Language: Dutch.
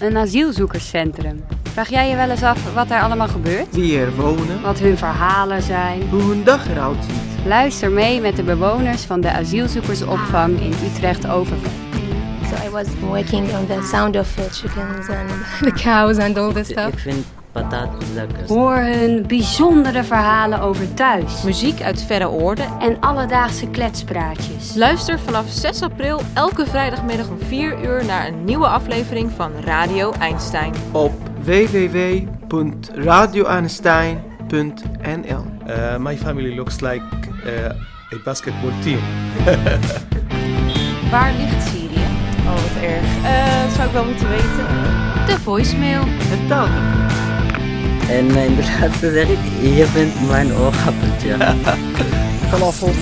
Een asielzoekerscentrum. Vraag jij je wel eens af wat daar allemaal gebeurt? Wie er wonen, Wat hun verhalen zijn? hoe hun dag eruit ziet. Luister mee met de bewoners van de asielzoekersopvang in Utrecht-Overvecht. So I was working on the sound of the chickens and the cows and all this stuff. Ik vind patat lekker. Hoor hun bijzondere verhalen over thuis Muziek uit verre oorden. en alledaagse kletspraatjes. Luister vanaf 6 april elke vrijdagmiddag om 4 uur naar een nieuwe aflevering van Radio Einstein. Op www.radioanstein.nl Uh, my family looks like uh, a basketball team. Waar ligt Syrië? Oh, wat erg. Eh, dat zou ik wel moeten weten. De voicemail. Het taalgevoel. En in de laatste zeg ik, je bent mijn oogappeltje. Falafel.